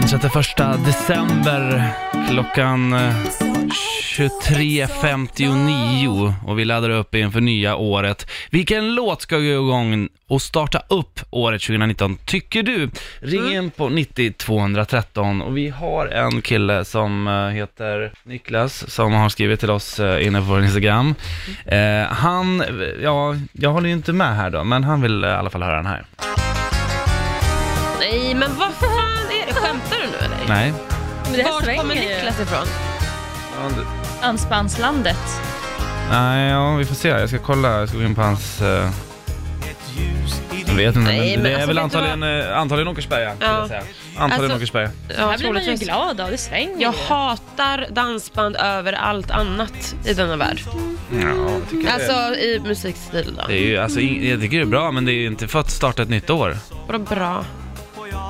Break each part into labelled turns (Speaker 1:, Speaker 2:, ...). Speaker 1: Den 31 december klockan eh, 23.59 och vi laddar upp inför nya året. Vilken låt ska gå igång och starta upp året 2019 tycker du? Ring in på 90 213 och vi har en kille som eh, heter Niklas som har skrivit till oss eh, inne på vår Instagram. Eh, han, ja, jag håller ju inte med här då, men han vill eh, i alla fall höra den här.
Speaker 2: Nej, men vad fan är det? Skämtar du nu eller?
Speaker 1: Nej.
Speaker 3: Men det här
Speaker 2: Vart
Speaker 3: svänger
Speaker 2: kommer
Speaker 3: ju.
Speaker 2: Niklas ifrån?
Speaker 3: Anspanslandet.
Speaker 1: Nej, ja, vi får se. Jag ska kolla. Jag ska gå in på hans... eh, Jag vet inte,
Speaker 2: Nej,
Speaker 1: men
Speaker 2: men
Speaker 1: det är
Speaker 2: alltså,
Speaker 1: väl
Speaker 2: vet du
Speaker 1: antagligen, eh, antagligen Åkersberga. skulle jag säga. Antagligen
Speaker 2: Alltså-
Speaker 1: Åkersberga.
Speaker 3: Det
Speaker 2: Ja,
Speaker 3: här blir man ju
Speaker 2: troligtvis.
Speaker 3: glad av, det svänger
Speaker 2: Jag
Speaker 3: ju.
Speaker 2: hatar dansband över allt annat i denna värld.
Speaker 1: Ja, jag tycker det.
Speaker 2: Alltså i musikstil då.
Speaker 1: Det är ju, alltså, in- jag tycker det är bra, men det är ju inte för att starta ett nytt år.
Speaker 2: Vadå bra?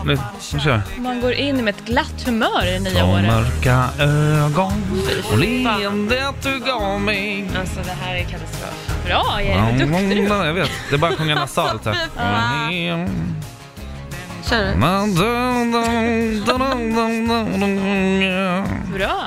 Speaker 1: Nu, nu kör vi.
Speaker 3: Man går in med ett glatt humör i det nya
Speaker 1: De
Speaker 3: året.
Speaker 1: mörka ögon och
Speaker 2: fan.
Speaker 1: leendet du gav mig.
Speaker 2: Alltså det här är katastrof.
Speaker 3: Bra Jerry, duktig du är.
Speaker 1: Ja, Jag vet, det är bara att sjunga nasalt här.
Speaker 2: Känner du?
Speaker 3: Bra.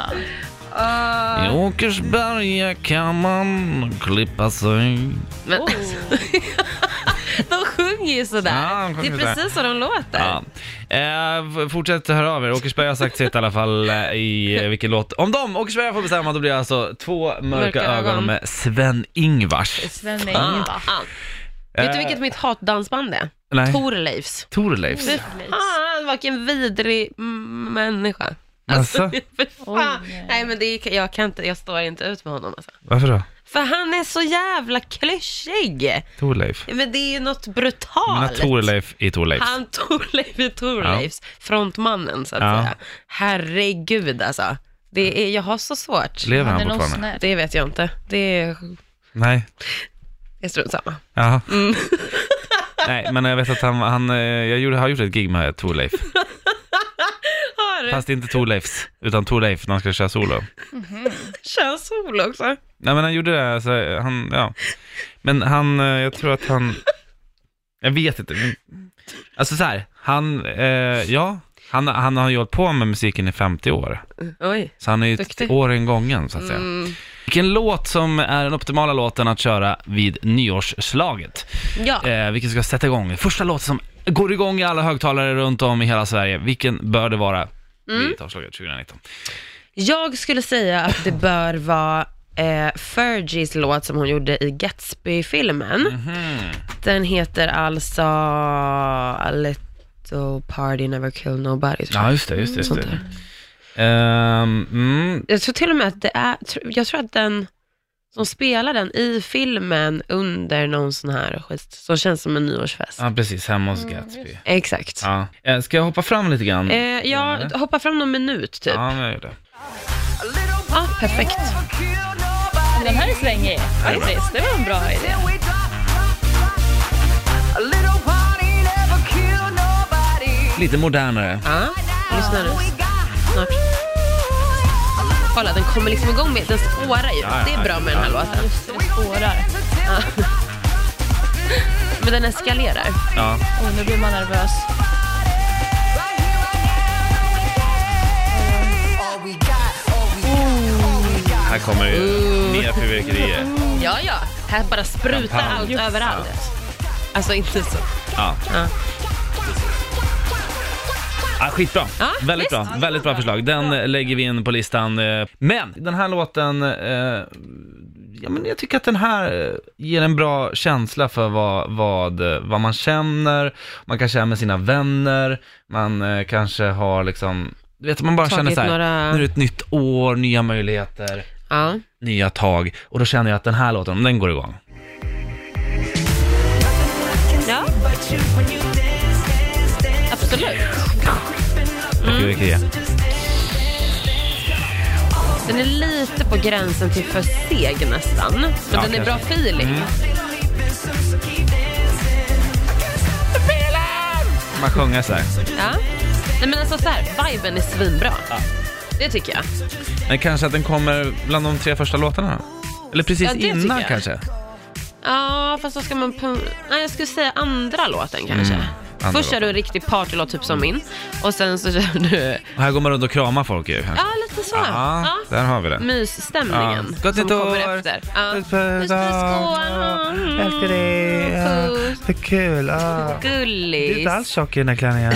Speaker 3: Uh,
Speaker 1: I Åkersberga kan man klippa sig
Speaker 2: Men
Speaker 3: Oh.
Speaker 2: de sjunger ju sådär.
Speaker 1: Ja, de
Speaker 2: det
Speaker 1: sjunger
Speaker 2: är
Speaker 1: sådär.
Speaker 2: precis så de låter.
Speaker 1: Ja. Eh, f- fortsätt höra av er. Åkersberga har sagt sitt i alla fall eh, i eh, vilken låt. Om de, Åkersberga får bestämma, då blir det alltså två mörka,
Speaker 2: Mörka
Speaker 1: ögon.
Speaker 2: ögon.
Speaker 1: med Sven-Ingvars.
Speaker 3: Sven
Speaker 2: Fan.
Speaker 3: Ingvar.
Speaker 2: Ah. Mm. Vet du vilket mitt hatdansband är?
Speaker 1: Eh, Nej,
Speaker 2: Torleifs.
Speaker 1: Thorleifs.
Speaker 2: Ah, vilken vidrig mm, människa.
Speaker 1: Alltså,
Speaker 2: Fy fan.
Speaker 3: Oj.
Speaker 2: Nej men det, är- jag, kan inte, jag står inte ut med honom alltså.
Speaker 1: varför då?
Speaker 2: För han är så jävla klyschig.
Speaker 1: Thorleif?
Speaker 2: Men det är ju något
Speaker 1: Jag menar
Speaker 2: brutalt.
Speaker 1: Thorleif i Thorleifs.
Speaker 2: Han Torleif är Torleifs, frontmannen så att
Speaker 1: Ja.
Speaker 2: säga. Herregud alltså. Det är, jag har så svårt.
Speaker 1: Lever
Speaker 3: Han
Speaker 1: han
Speaker 3: är någon
Speaker 1: fortfarande?
Speaker 3: snäll.
Speaker 2: Det vet jag inte. Det är,
Speaker 1: Nej.
Speaker 2: är strunt samma.
Speaker 1: Jaha.
Speaker 2: Mm.
Speaker 1: Nej, men jag vet att han, han eh, jag gjorde, har gjort ett gig med Thorleif.
Speaker 2: Har du
Speaker 1: Fast inte Thorleifs, utan Thorleif när han skulle köra solo.
Speaker 2: könshol också?
Speaker 1: Nej men han gjorde det, alltså, han, ja. Men han, eh, jag tror att han, jag vet inte. men- Alltså så här, han, eh, ja, han, han har ju hållit på med musiken i 50 år.
Speaker 2: Oj.
Speaker 1: Så han är ju
Speaker 2: Duktig.
Speaker 1: ett åren gången så att säga.
Speaker 2: Mm.
Speaker 1: Vilken låt som är den optimala låten att köra vid nyårsslaget?
Speaker 2: Ja.
Speaker 1: Eh, vilken ska sätta igång? Första låten som går igång i alla högtalare runt om i hela Sverige. Vilken bör det vara? Vid nyårsslaget 2019.
Speaker 2: Jag skulle säga att det bör vara eh, Fergies låt som hon gjorde i Gatsby-filmen. Den heter alltså A little party never kill nobody. tror jag.
Speaker 1: just det, just det. Just
Speaker 2: Sånt där.
Speaker 1: Ehm, mm,
Speaker 2: Jag tror till och med att det är, tr- jag tror att den som spelar den i filmen under någon sån här skit, som känns som en nyårsfest.
Speaker 1: ja, precis. Hemma hos Gatsby.
Speaker 2: Exakt.
Speaker 1: Ja. Eh, Ska jag hoppa fram lite grann?
Speaker 2: Eh, jag hoppar fram någon minut typ. Ja,
Speaker 1: Ja, men jag gör det.
Speaker 2: Ah. perfekt.
Speaker 3: Den här är svängig faktiskt. Det var en bra idé.
Speaker 1: Lite modernare.
Speaker 2: Ja, lyssna nu. Snart. Kolla, den kommer liksom igång med, den spårar ju.
Speaker 1: ja,
Speaker 2: Det är bra med den här låten.
Speaker 3: Det spårar.
Speaker 2: Men den eskalerar.
Speaker 1: Ja.
Speaker 3: Oh, nu blir man nervös.
Speaker 1: Här kommer ju nya fyrverkerier.
Speaker 2: Ja, ja. Här bara sprutar
Speaker 1: Champagne.
Speaker 2: allt överallt. Alltså inte så.
Speaker 1: Ja.
Speaker 2: Ja.
Speaker 1: Ja, Ah, skitbra.
Speaker 2: Ja,
Speaker 1: väldigt
Speaker 2: visst.
Speaker 1: bra. Väldigt bra förslag. Den eh, lägger vi in på listan. eh. Men den här låten, eh, ja, men jag tycker att den här eh, ger en bra känsla för vad, vad, eh, vad man känner. Man kanske är med sina vänner, man eh, kanske har liksom, du vet man bara
Speaker 2: Tagit
Speaker 1: känner så här,
Speaker 2: några-
Speaker 1: nu är det ett nytt år, nya möjligheter,
Speaker 2: Ja.
Speaker 1: nya tag. Och då känner jag att den här låten, om den går igång.
Speaker 2: Ja, absolut. Mm.
Speaker 1: Fyrverkerier.
Speaker 2: Den är lite på gränsen till för seg nästan. Men
Speaker 1: Ja,
Speaker 2: den är bra
Speaker 1: kanske. Mm.
Speaker 2: feeling. Ah.
Speaker 1: Man sjunger så här.
Speaker 2: Ja. Nej men alltså så här, viben är svinbra. Det tycker jag.
Speaker 1: Men kanske att den kommer bland de tre första låtarna? Eller precis
Speaker 2: Ja, det tycker
Speaker 1: innan
Speaker 2: jag.
Speaker 1: kanske?
Speaker 2: Ja, fast då ska man... pun- Nej, jag skulle säga andra låten kanske.
Speaker 1: Mm. andra
Speaker 2: Först kör du en riktig partylåt, typ som min. Och sen så kör du,
Speaker 1: Och här går man runt och kramar folk ju.
Speaker 2: ja lite så.
Speaker 1: Ja,
Speaker 2: Ja.
Speaker 1: där har vi det.
Speaker 2: Mysstämningen
Speaker 1: Ja. Gott
Speaker 2: som
Speaker 1: nytt år.
Speaker 2: kommer efter. Ja.
Speaker 1: Puss,
Speaker 2: Puss,
Speaker 1: puss,
Speaker 2: puss,
Speaker 1: ja.
Speaker 2: skål! Mm.
Speaker 1: Älskar dig. Ja,
Speaker 2: Puss.
Speaker 1: Det är kul. Ja. Du är
Speaker 2: Gullis.
Speaker 1: inte alls tjock i den här klänningen.